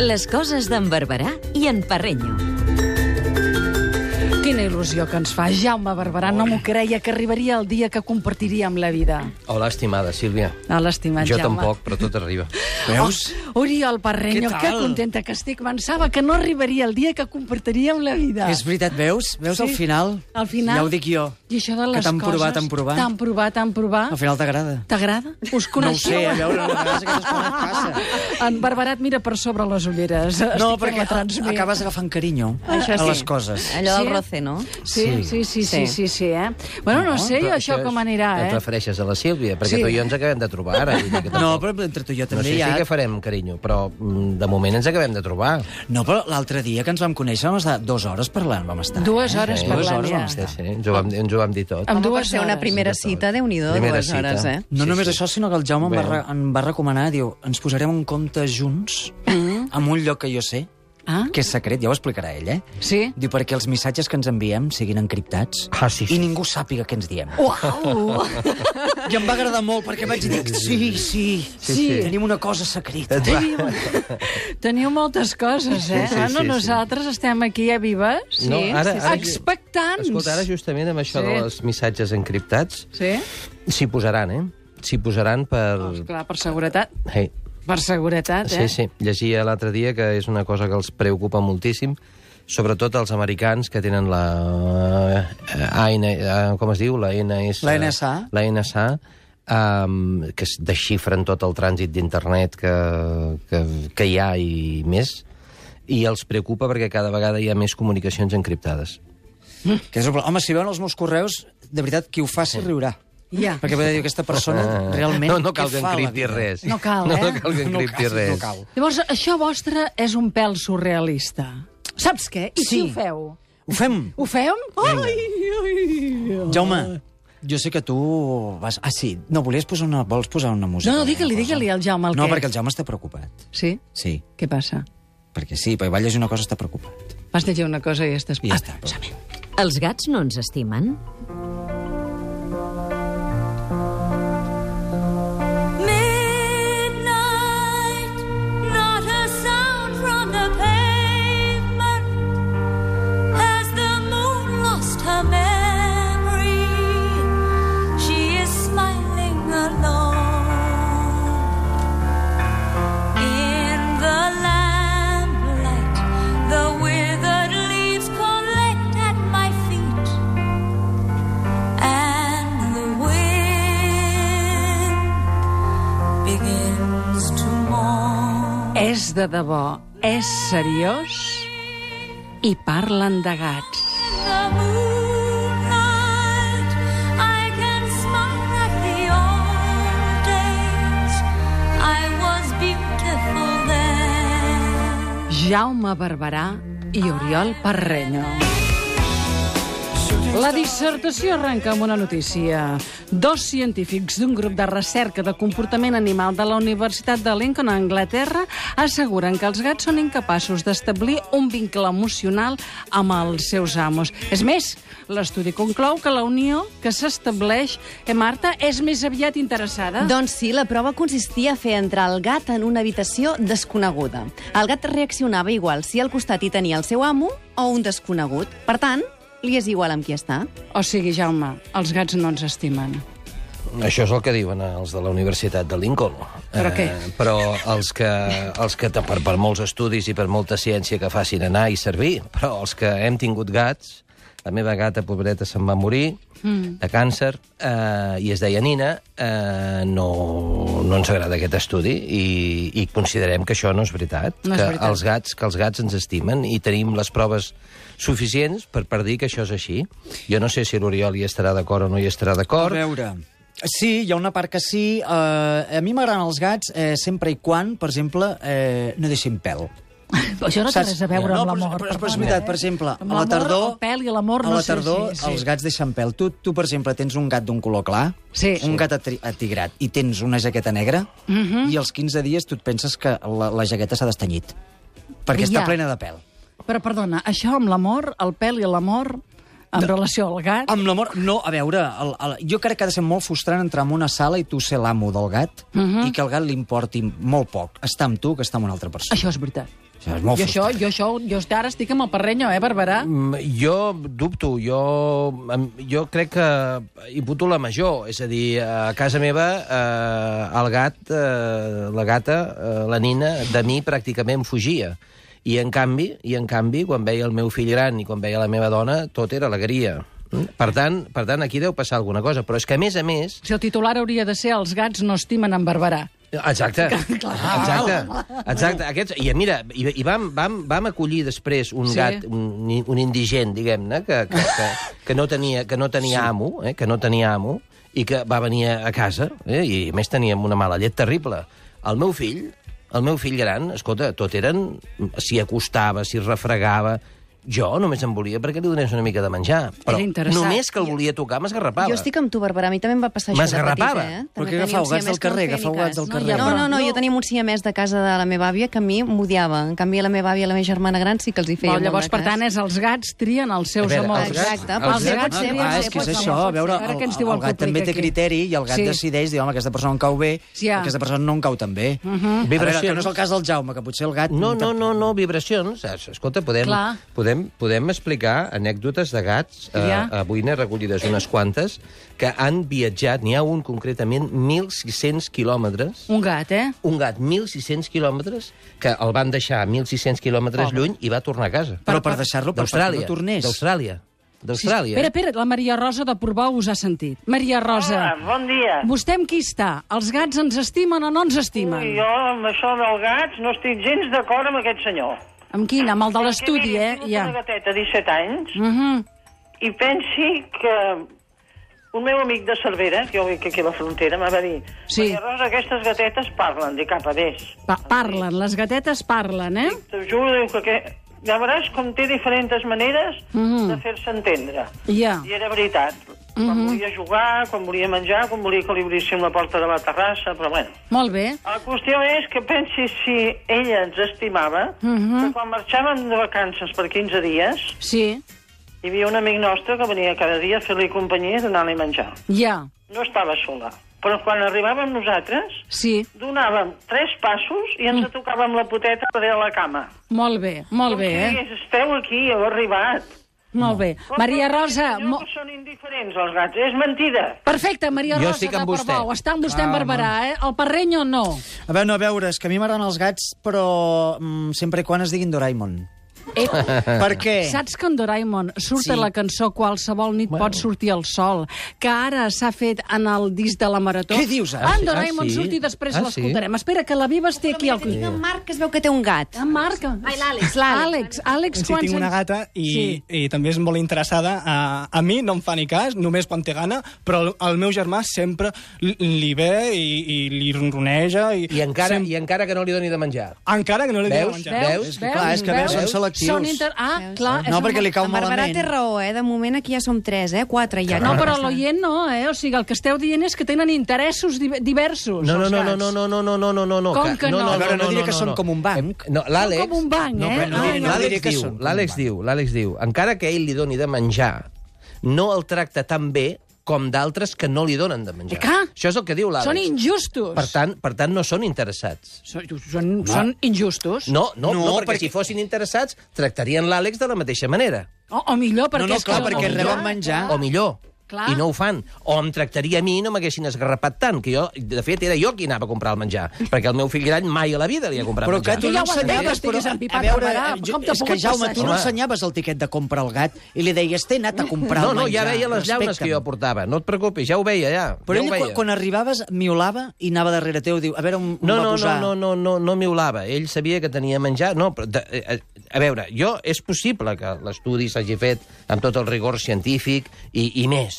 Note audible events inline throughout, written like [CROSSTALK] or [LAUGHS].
Les coses d'en Barberà i en Parrenyo. Quina il·lusió que ens fa Jaume Barberà. No m'ho creia que arribaria el dia que compartiríem la vida. Hola, estimada Sílvia. A l'estimat Jo Ah, Jaume. tampoc, però tot [LAUGHS] arriba. Veus? Oh, Oriol Parreño, Què tal? que contenta que estic. Pensava que no arribaria el dia que compartiríem la vida. És veritat, veus? Veus Ah. Sí. al final? Al final... Ja ho dic jo. I això de les que t'han coses... provat, t'han provat. T'han provat, t'han provat. Al final t'agrada. T'agrada? Us No ho coneixeu? sé, a veure, a vegades aquestes coses passa. [LAUGHS] En Barberà et mira per sobre les ulleres. No, Estic fent perquè la Ah, transmet. acabes agafant carinyo Això sí. a les coses. Allò Sí. del roce, no? Sí, sí, sí, sí, sí, sí, sí eh? Bueno, no, sé jo Però això com anirà, Et eh? refereixes a la Sílvia, perquè Sí. tu i jo ens acabem de trobar ara. vull [LAUGHS] Ah. dir que No, tampoc- però entre tu i jo no també sé hi ha... si què farem, carinyo, però mm, de moment ens acabem de trobar. No, però l'altre dia que ens vam conèixer vam estar dues hores parlant, vam estar. Dues hores Sí, dues parlant hores ja. Ah, vam estar. Eh? Sí, sí, ens ho vam, ens ho vam dir tot. Amb Home, dues per ser una hores. primera cita, déu nhi Primera dues cita. hores, eh? No Sí, només sí. això, sinó que el Jaume em va, Bé. re- em va recomanar, diu, ens posarem un compte junts en un lloc que jo sé, Mm. Ah? que és secret, ja ho explicarà ell, eh? Sí? Diu, perquè els missatges que ens enviem siguin encriptats Ah, sí, sí. i ningú sàpiga què ens diem. Uau! I em va agradar molt, perquè vaig dir, sí, sí, sí, Eh, sí. sí. tenim una cosa secreta. [LAUGHS] Teniu, teniu moltes coses, eh? Sí, sí, bueno, sí, sí. nosaltres estem aquí a vives, sí, No, ara- ara- expectants. Escolta, ara justament amb això Sí. sí. dels missatges encriptats, Sí? s'hi posaran, eh? S'hi posaran per... Esclar, per seguretat. Hey. Per seguretat, eh? Sí, sí. Llegia l'altre dia que és una cosa que els preocupa moltíssim, sobretot els americans que tenen la... eh, AN, eh, com es diu? La NS... La NSA. La NSA, um, que es desxifren tot el trànsit d'internet que, que, que hi ha i més, i els preocupa perquè cada vegada hi ha més comunicacions encriptades. Que és un problema. Home, si veuen els meus correus, de veritat, qui ho faci riurà. Ja. Perquè podria dir, aquesta [LAUGHS] persona Ah. realment... No, no cal què que fa a la encripti vida? res. No cal, no, eh? No cal que No encripti cal, res. no cal. Llavors, això vostre és un pèl surrealista. Saps què? I si Sí. ho feu? Ho fem. Ho fem? Ai, ai, ai. Jaume, jo sé que tu vas... Ah, sí. No, volies posar una... Vols posar una música? No, no, una digue-li, cosa? digue-li al Jaume el No, què. perquè el Jaume està preocupat. Sí? Sí, Què passa? perquè sí, perquè va llegir una cosa, està preocupat. Vas llegir una cosa i estàs... Ah, doncs I ja està. Els gats no ens estimen? Midnight, not a sound from the pavement. Has the moon lost her memory? She is smiling alone. In the lamplight, the withered leaves collect at my feet. And the wind begins to mourn. És de debò, és seriós i parlen de gats. The moonlight, I can smile at the old days. I was beautiful then. Jaume Barberà i Oriol Parreño. La dissertació arrenca amb una notícia. Dos científics d'un grup de recerca de comportament animal de la Universitat de Lincoln, a Anglaterra, asseguren que els gats són incapaços d'establir un vincle emocional amb els seus amos. És més, l'estudi conclou que la unió que s'estableix, eh, Marta, és més aviat Ah. interessada. Doncs sí, la prova consistia a fer entrar el gat en una habitació desconeguda. El gat reaccionava igual si al costat hi tenia el seu amo o un desconegut. Per tant, li és igual amb qui està. O sigui, Jaume, els gats no ens estimen. Mm. Això és el que diuen els de la Universitat de Lincoln. Però què? Eh, però els que, els que per, per molts estudis i per molta ciència que facin anar i servir, però els que hem tingut gats, la meva gata pobreta se'n va morir, mm. de càncer, eh, i es deia Nina, eh, no, no ens agrada aquest estudi i, i considerem que això no és veritat. No és que veritat. Els gats, que els gats ens estimen i tenim les proves suficients per, per dir que això és així. Jo no sé si l'Oriol hi estarà d'acord o no hi estarà A d'acord, veure... Sí, hi ha una part que sí. Uh, a mi m'agraden els gats eh, sempre i quan, per exemple, eh, no deixin pèl. Això no té res a veure amb no, però- l'amor. Però, però és perdona, veritat, eh? per exemple, Amb a la l'amor, tardor... el pèl i l'amor, A no la sé, tardor, sí, sí. els gats deixen pèl. Tu, tu, per exemple, tens un gat d'un color clar, Sí. Mhm. un gat atri- atigrat, i tens una jaqueta negra, i als 15 dies tu et penses que la, la jaqueta s'ha destanyit, perquè Ja. està plena de pèl. Però, perdona, això amb l'amor, el pèl i l'amor, en relació al gat... Amb l'amor, no, a veure, el, el, jo crec que ha de ser molt frustrant entrar en una sala i tu ser Mhm. l'amo del gat, i que el gat li importi molt poc. Està amb tu que està amb una altra persona. Això és veritat. Això és molt Jo això, frustrant. jo això, jo ara estic amb el Parrenyo, eh, Barberà? Mm, Jo dubto, jo, em- jo crec que hi puto la major, és a dir, a casa meva eh, el gat, eh, la gata, eh, la nina, de mi pràcticament fugia. I en canvi, i en canvi, quan veia el meu fill gran i quan veia la meva dona, tot era alegria. Mm? Per tant, per tant, aquí deu passar alguna cosa. Però és que, a més a més... Si el titular hauria de ser Els gats no estimen en Barberà. Exacte, Ah, exacte, exacte. Aquests, I mira, i, i vam, vam, vam acollir després un Sí. sí. gat, un, un indigent, diguem-ne, que, que, que, que no tenia, que no tenia sí. amo, eh, que no tenia amo, i que va venir a casa, eh, i a més teníem una mala llet terrible. El meu fill, el meu fill gran, escolta, tot eren... S'hi acostava, s'hi refregava... Jo només em volia perquè li donés una mica de menjar. Però Era interessat. només que el volia tocar m'esgarrapava. Jo estic amb tu, Barbara. A mi també em va passar això de petita, M'esgarrapava. eh? Però que També tenia agafau gats un del siamès que no carrer, feia ni agafau cas. gats del No, carrer. No, no, no, No. jo tenia un siamès de casa de la meva àvia que a mi m'odiava. En canvi, la meva àvia i la meva germana gran sí que els hi feia Bon, llavors, molt de per cas. tant, és els gats trien els seus A veure, amors. els gats- Exacte, els pot ser, gats- pot ser, Ah, pot Ah, ser, és que és pot ser, això, pot a veure, ser. Ara el, què ens el, diu el gat també públic té aquí? criteri i el gat Sí. decideix, diu, home, aquesta persona em cau bé, Sí, ja. Mhm. aquesta persona no em cau tan bé. Uh -huh. A veure, Vibracions. que no és el cas del Jaume, que potser el gat... No, no, no, no, vibracions. Es- Escolta, podem, Mm, Clar. podem, podem explicar anècdotes de gats. Ja. Eh, avui n'he recollides unes quantes, que han viatjat, n'hi ha un concretament, 1.600 quilòmetres. Un gat, eh? Un gat, 1.600 quilòmetres, que el van deixar 1.600 quilòmetres lluny i va tornar a casa. Però per deixar-lo, per perquè D'Austràlia. no tornés. D'Austràlia. D'Austràlia. Espera, espera, la Maria Rosa de Portbou us ha sentit. Maria Rosa, Hola, bon dia. vostè amb qui està? Els gats ens estimen o no ens estimen? Ui, Jo amb això del gats no estic gens d'acord amb aquest senyor. Amb quin? Amb el de Que l'estudi, miri, eh? tinc Ja. Una gateta, 17 anys, Uh -huh. i pensi que un meu amic de Cervera, que jo vinc aquí a la frontera, em va dir Sí. Maria Rosa, aquestes gatetes parlen, dic, cap a des. pa parlen, les gatetes parlen, eh? T'ho juro, diu que... que... Ja veuràs com té diferents maneres Mhm. de fer-se entendre. Ja. I era veritat. Quan volia jugar, quan volia menjar, quan volia que li obríssim la porta de la terrassa, però bueno. Molt bé. La qüestió és que pensi si ella ens estimava, Mhm. que quan marxàvem de vacances per 15 dies, Sí, hi havia un amic nostre que venia cada dia a fer-li companyia i donar-li menjar. ja. No estava sola. Però quan arribàvem nosaltres, Sí, donàvem tres passos i Mm. ens tocàvem la poteta darrere la cama. molt bé, molt bé, Si eh? digués, Esteu aquí, heu arribat. Molt bé. Maria Rosa... Mo... Mo... Que són indiferents, els gats. És mentida. Perfecte, Maria Jo Rosa estic de amb vostè. Portbou. Està amb vostè en Barberà, eh? El Parrenyo no. A veure, no, a veure, és que a mi m'agraden els gats, però mm, sempre i quan es diguin Doraemon. Eh, Per què? Saps que en Doraemon surt Sí. sí. la cançó Qualsevol nit bueno. pot sortir el sol, que ara s'ha fet en el disc de la Marató? Què dius, ara? Ah, en Ah, Doraemon sí? surt i després Ah, l'escoltarem. Espera, que la Vives té aquí al... Tinc Sí. en Marc, que es veu que té un gat. En Marc. Ai, l'Àlex. Àlex, Àlex, Sí, quan tinc sents- una gata i, Sí. sí. i també és molt interessada. A, a mi no em fa ni cas, només quan té gana, però el, el meu germà sempre li- li ve i, i li ronroneja. I, I, encara, sem- I encara que no li doni de menjar. Encara que no li Veus? digui menjar. Veus? És que, clar, és que, a veure, són selectius. Són inter... Ah, Veus? clar. és No, un- perquè li cau en Barberà malament. té raó, eh? De moment aquí ja som tres, eh? Ah, Quatre ja. No, però l'oient no, eh? O sigui, el que esteu dient és que tenen interessos di- diversos. No, no, els no, no, gats. no, no, no, no, no, no, no, no. Com que no? A veure, no diré que són com un banc. No, l'Àlex... Són com un banc, eh? però Ai, diré- no. No diré L'Àlex que diu, són com l'Àlex un diu, l'Àlex diu, encara que ell li doni de menjar, no el tracta tan bé com d'altres que no li donen de menjar. Eh, clar. Això és el que diu l'Àlex. Són injustos. Per tant, per tant, no són interessats. Són, són, són injustos. No, no, no, No, no perquè, perquè- si fossin interessats, tractarien l'Àlex de la mateixa manera. O, o millor, perquè... no, és que clar, són perquè els reben millors. menjar. O millor. Clar. I no ho fan. O em tractaria a mi i no m'haguessin esgarrapat tant, que jo, de fet, era jo qui anava a comprar el menjar, perquè el meu fill gran mai a la vida li ha comprat Però que menjar. tu Tu no ja ho ensenyaves, entenc, estiguis empipat, a veure, Barberà, jo, com t'ha és que pogut Jaume, passar tu no això? ensenyaves el tiquet de compra al gat i li deies, té anat a comprar No, el no, ja menjar. veia les llaunes que jo Respecta'm. portava. No et preocupis, ja ho veia, ja. Però ja ho ell, quan, veia. quan arribaves, miolava i anava darrere teu, diu, a veure on, on No, va no, posar... no, no, no, no, no miolava. Ell sabia que tenia menjar. No, però, de, eh, eh, a veure, jo, és possible que l'estudi s'hagi fet amb tot el rigor científic i, i més,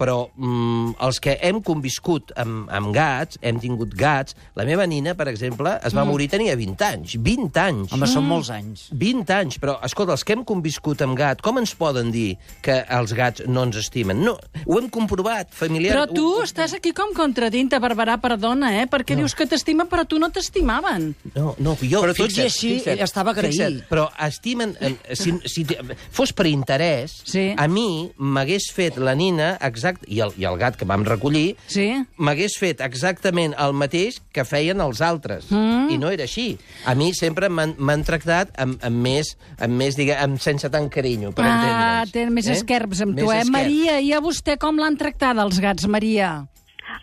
però mm, els que hem conviscut amb, amb gats, hem tingut gats... La meva nina, per exemple, es va morir, tenia 20 anys. 20 anys! Mm. Home, són molts anys. 20 anys, però, escolta, els que hem conviscut amb gat, com ens poden dir que els gats no ens estimen? No, ho hem comprovat, familiar... Però tu ho- estàs aquí com contradint-te, Barberà, perdona, eh? Perquè dius que t'estima, però tu no t'estimaven. No, no, jo, Però tot fixa't, i així, fixa't, estava agraït. Fixa't, però estimen... eh, Si, si te- fos per interès, Sí. a mi m'hagués fet la nina exactament exact, i el, i el gat que vam recollir, Sí? m'hagués fet exactament el mateix que feien els altres. Mm. I no era així. A mi sempre m'han m'han tractat amb, amb més, amb més digue, amb, sense tant carinyo, per ah, entendre'ns. té més Eh? esquerbs amb Més tu, eh? esquerps. [LAUGHS] Maria, i a vostè com l'han tractat els gats, Maria?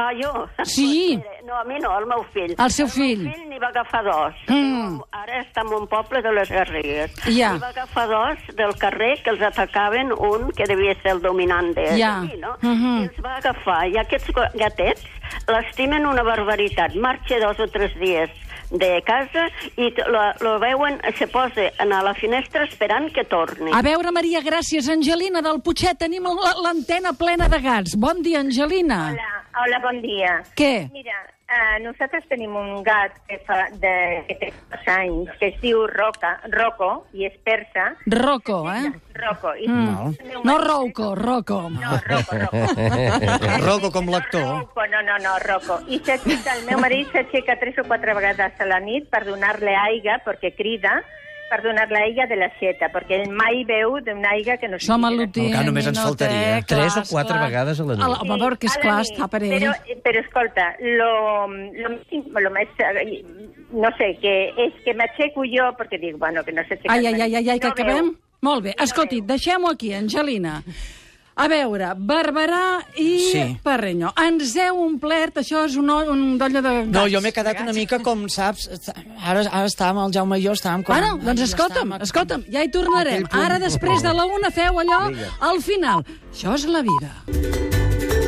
Ah, jo? Doncs Sí. Mira, No, a mi no, el meu fill. El seu El fill. meu fill n'hi va agafar dos. Mm. Ara està en un poble de les Garrigues. Ja. N'hi va agafar dos del carrer que els atacaven un que devia ser el dominant de Ja. d'aquí, no? Mhm. I els va agafar. I aquests go- gatets l'estimen una barbaritat. Marxa dos o tres dies de casa i t- lo, lo veuen, se posa a la finestra esperant que torni. A veure, Maria, gràcies. Angelina del Puiget, tenim la- l'antena plena de gats. Bon dia, Angelina. Hola, hola, bon dia. Què? Mira, eh, nosaltres tenim un gat que, fa de, que té dos anys, que es diu Roca, Rocco, i és persa. Rocco, eh? Rocco. I mm. No Rouco, Rocco. No, Rocco, [LAUGHS] Rocco. Rocco com l'actor. Rocco, no, no, no, Rocco. I s'aixeca, el meu marit s'aixeca tres o quatre vegades a la nit per donar-li aigua, perquè crida, per donar-li aigua de l'aixeta, perquè ell mai veu d'una aigua que no sigui Som de al·lutin. No, que només ens faltaria. Tres o quatre vegades a la nit. Home, però que és clar, nit. està per ell. Però, però escolta, lo, lo, més- lo més... eh, No sé, que és que m'aixeco jo perquè dic, bueno, que no sé... Ai, ai, ai, ai, ai que no acabem? Veu. Molt bé. Escolti, deixem-ho aquí, Angelina. A veure, Barberà i Sí. Parreño. Ens heu omplert, això és un, o- un dolla de gats. No, jo m'he quedat una mica com, saps, ara, ara estàvem el Jaume i jo, estàvem com... Bueno, doncs escolta'm, escolta'm, ja hi tornarem. Ara, després de la una, feu allò al final. Això és la vida.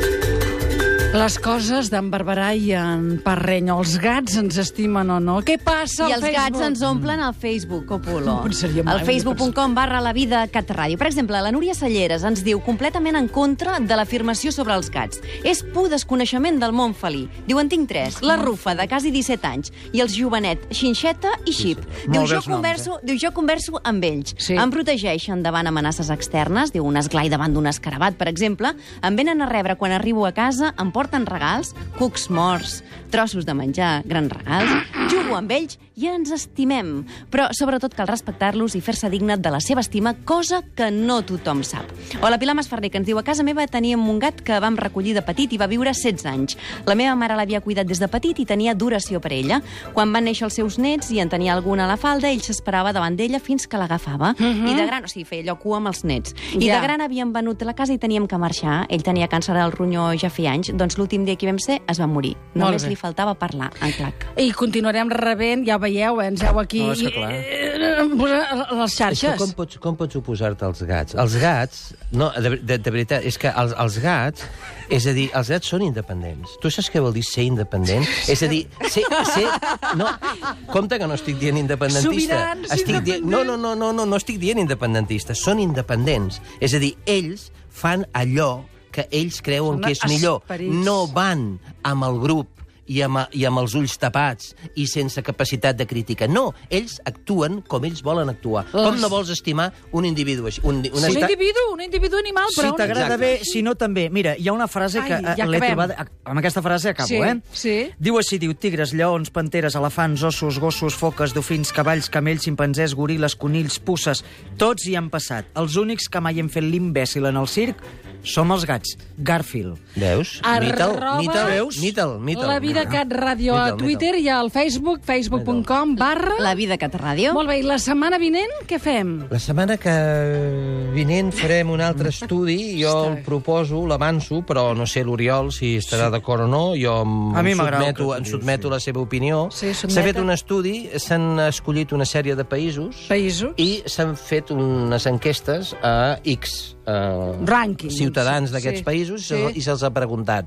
Les coses d'en Barberà i en Parreño. Els gats ens estimen o no? Què passa I al els Facebook? gats ens omplen al Facebook, Copulo. pensaria mai Al una facebook.com barra la vida cat ràdio. Per exemple, la Núria Salleres ens diu completament en contra de l'afirmació sobre els gats. És pur desconeixement del món felí. Diu, en tinc tres. La Rufa, de quasi 17 anys, i els jovenet, Xinxeta i Xip. Diu, Molt jo eh? bons noms, converso, diu, jo converso amb ells. Sí. Em protegeixen davant amenaces externes, diu, un esglai davant d'un escarabat, per exemple. Em venen a rebre quan arribo a casa, em porten regals, cucs morts, trossos de menjar, grans regals. Jugo amb ells i ens estimem. Però, sobretot, cal respectar-los i fer-se digne de la seva estima, cosa que no tothom sap. O la Pilar Masferrer, que ens diu, a casa meva teníem un gat que vam recollir de petit i va viure 16 anys. La meva mare l'havia cuidat des de petit i tenia duració per ella. Quan van néixer els seus nets i en tenia alguna a la falda, ell s'esperava davant d'ella fins que l'agafava. I de gran, o sigui, feia allò cua amb els nets. I Mhm. Ja. de gran havíem venut la casa i teníem que marxar. Ell tenia càncer al ronyó ja feia anys. Doncs l'últim dia que hi vam ser es va morir. Molt Només bé. li faltava parlar, en clac. I continuarem rebent, ja ho veieu, eh, ens heu aquí... No, és que clar. eh, posar a les És que xarxes. com pots, com pots oposar-te als gats? Els gats, no, de, de, de veritat, és que els, els gats, és a dir, els gats són independents. Tu saps què vol dir ser independent? És a dir, ser... ser no, compte que no estic dient independentista. Sobirans, estic dient, no, no, no, no, no, no estic dient independentistes. Són independents. És a dir, ells fan allò que ells creuen Són que és millor. esperits. No van amb el grup i amb, i amb els ulls tapats i sense capacitat de crítica. No, ells actuen com ells volen actuar. Les- Com no vols estimar un individu així? Un, una Un esta- individu, un individu animal, Si Ah, però... un- t'agrada bé, si no també. Mira, hi ha una frase que Ai, ja eh, l'he acabem. trobada... ac- Amb aquesta frase acabo, Sí, eh? sí. Diu així, diu, tigres, lleons, panteres, elefants, ossos, gossos, foques, dofins, cavalls, camells, ximpanzés, goril·les, conills, pusses... Tots hi han passat. Els únics que mai hem fet l'imbècil en el circ som els gats. Garfield. Veus? Arroba Nítal, Nítal, Nítal. La Vida Cat Ràdio a Nítal, Twitter i al Facebook, facebook.com barra... La vida cat ràdio. Molt bé, i la setmana vinent què fem? La setmana que vinent farem un altre estudi. Jo el proposo, l'avanço, però no sé l'Oriol si estarà d'acord o no. Jo em, A mi em m'agrada el sotmeto, que em dius, sotmeto a la seva opinió. Sí, sotmeta. s'ha fet un estudi, s'han escollit una sèrie de països Països? i s'han fet unes enquestes a X eh, Rànquing. ciutadans d'aquests Sí. països Sí. i se'ls ha preguntat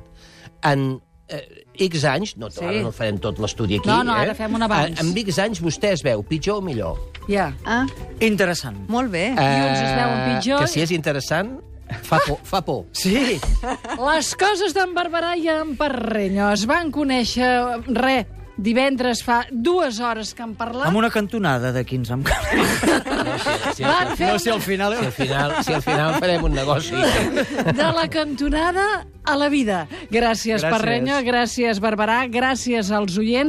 en eh, X anys, no, Sí. ara no farem tot l'estudi aquí, No, no, eh? ara fem un avanç. En, en X anys vostè es veu pitjor o millor? Ja. Ah, Interessant. molt bé. I uns es veuen Eh, pitjor. Que si és interessant, fa por. [LAUGHS] Fa por. Sí. Les coses d'en Barberà i en Parreño es van conèixer, re, divendres fa dues hores que en parlàvem. Amb una cantonada de 15 amb... Si Van fer No sé, al final... al final, si al final farem un negoci... [LAUGHS] de la cantonada a la vida. Gràcies, gràcies. Parreño, gràcies, Barberà, gràcies als oients.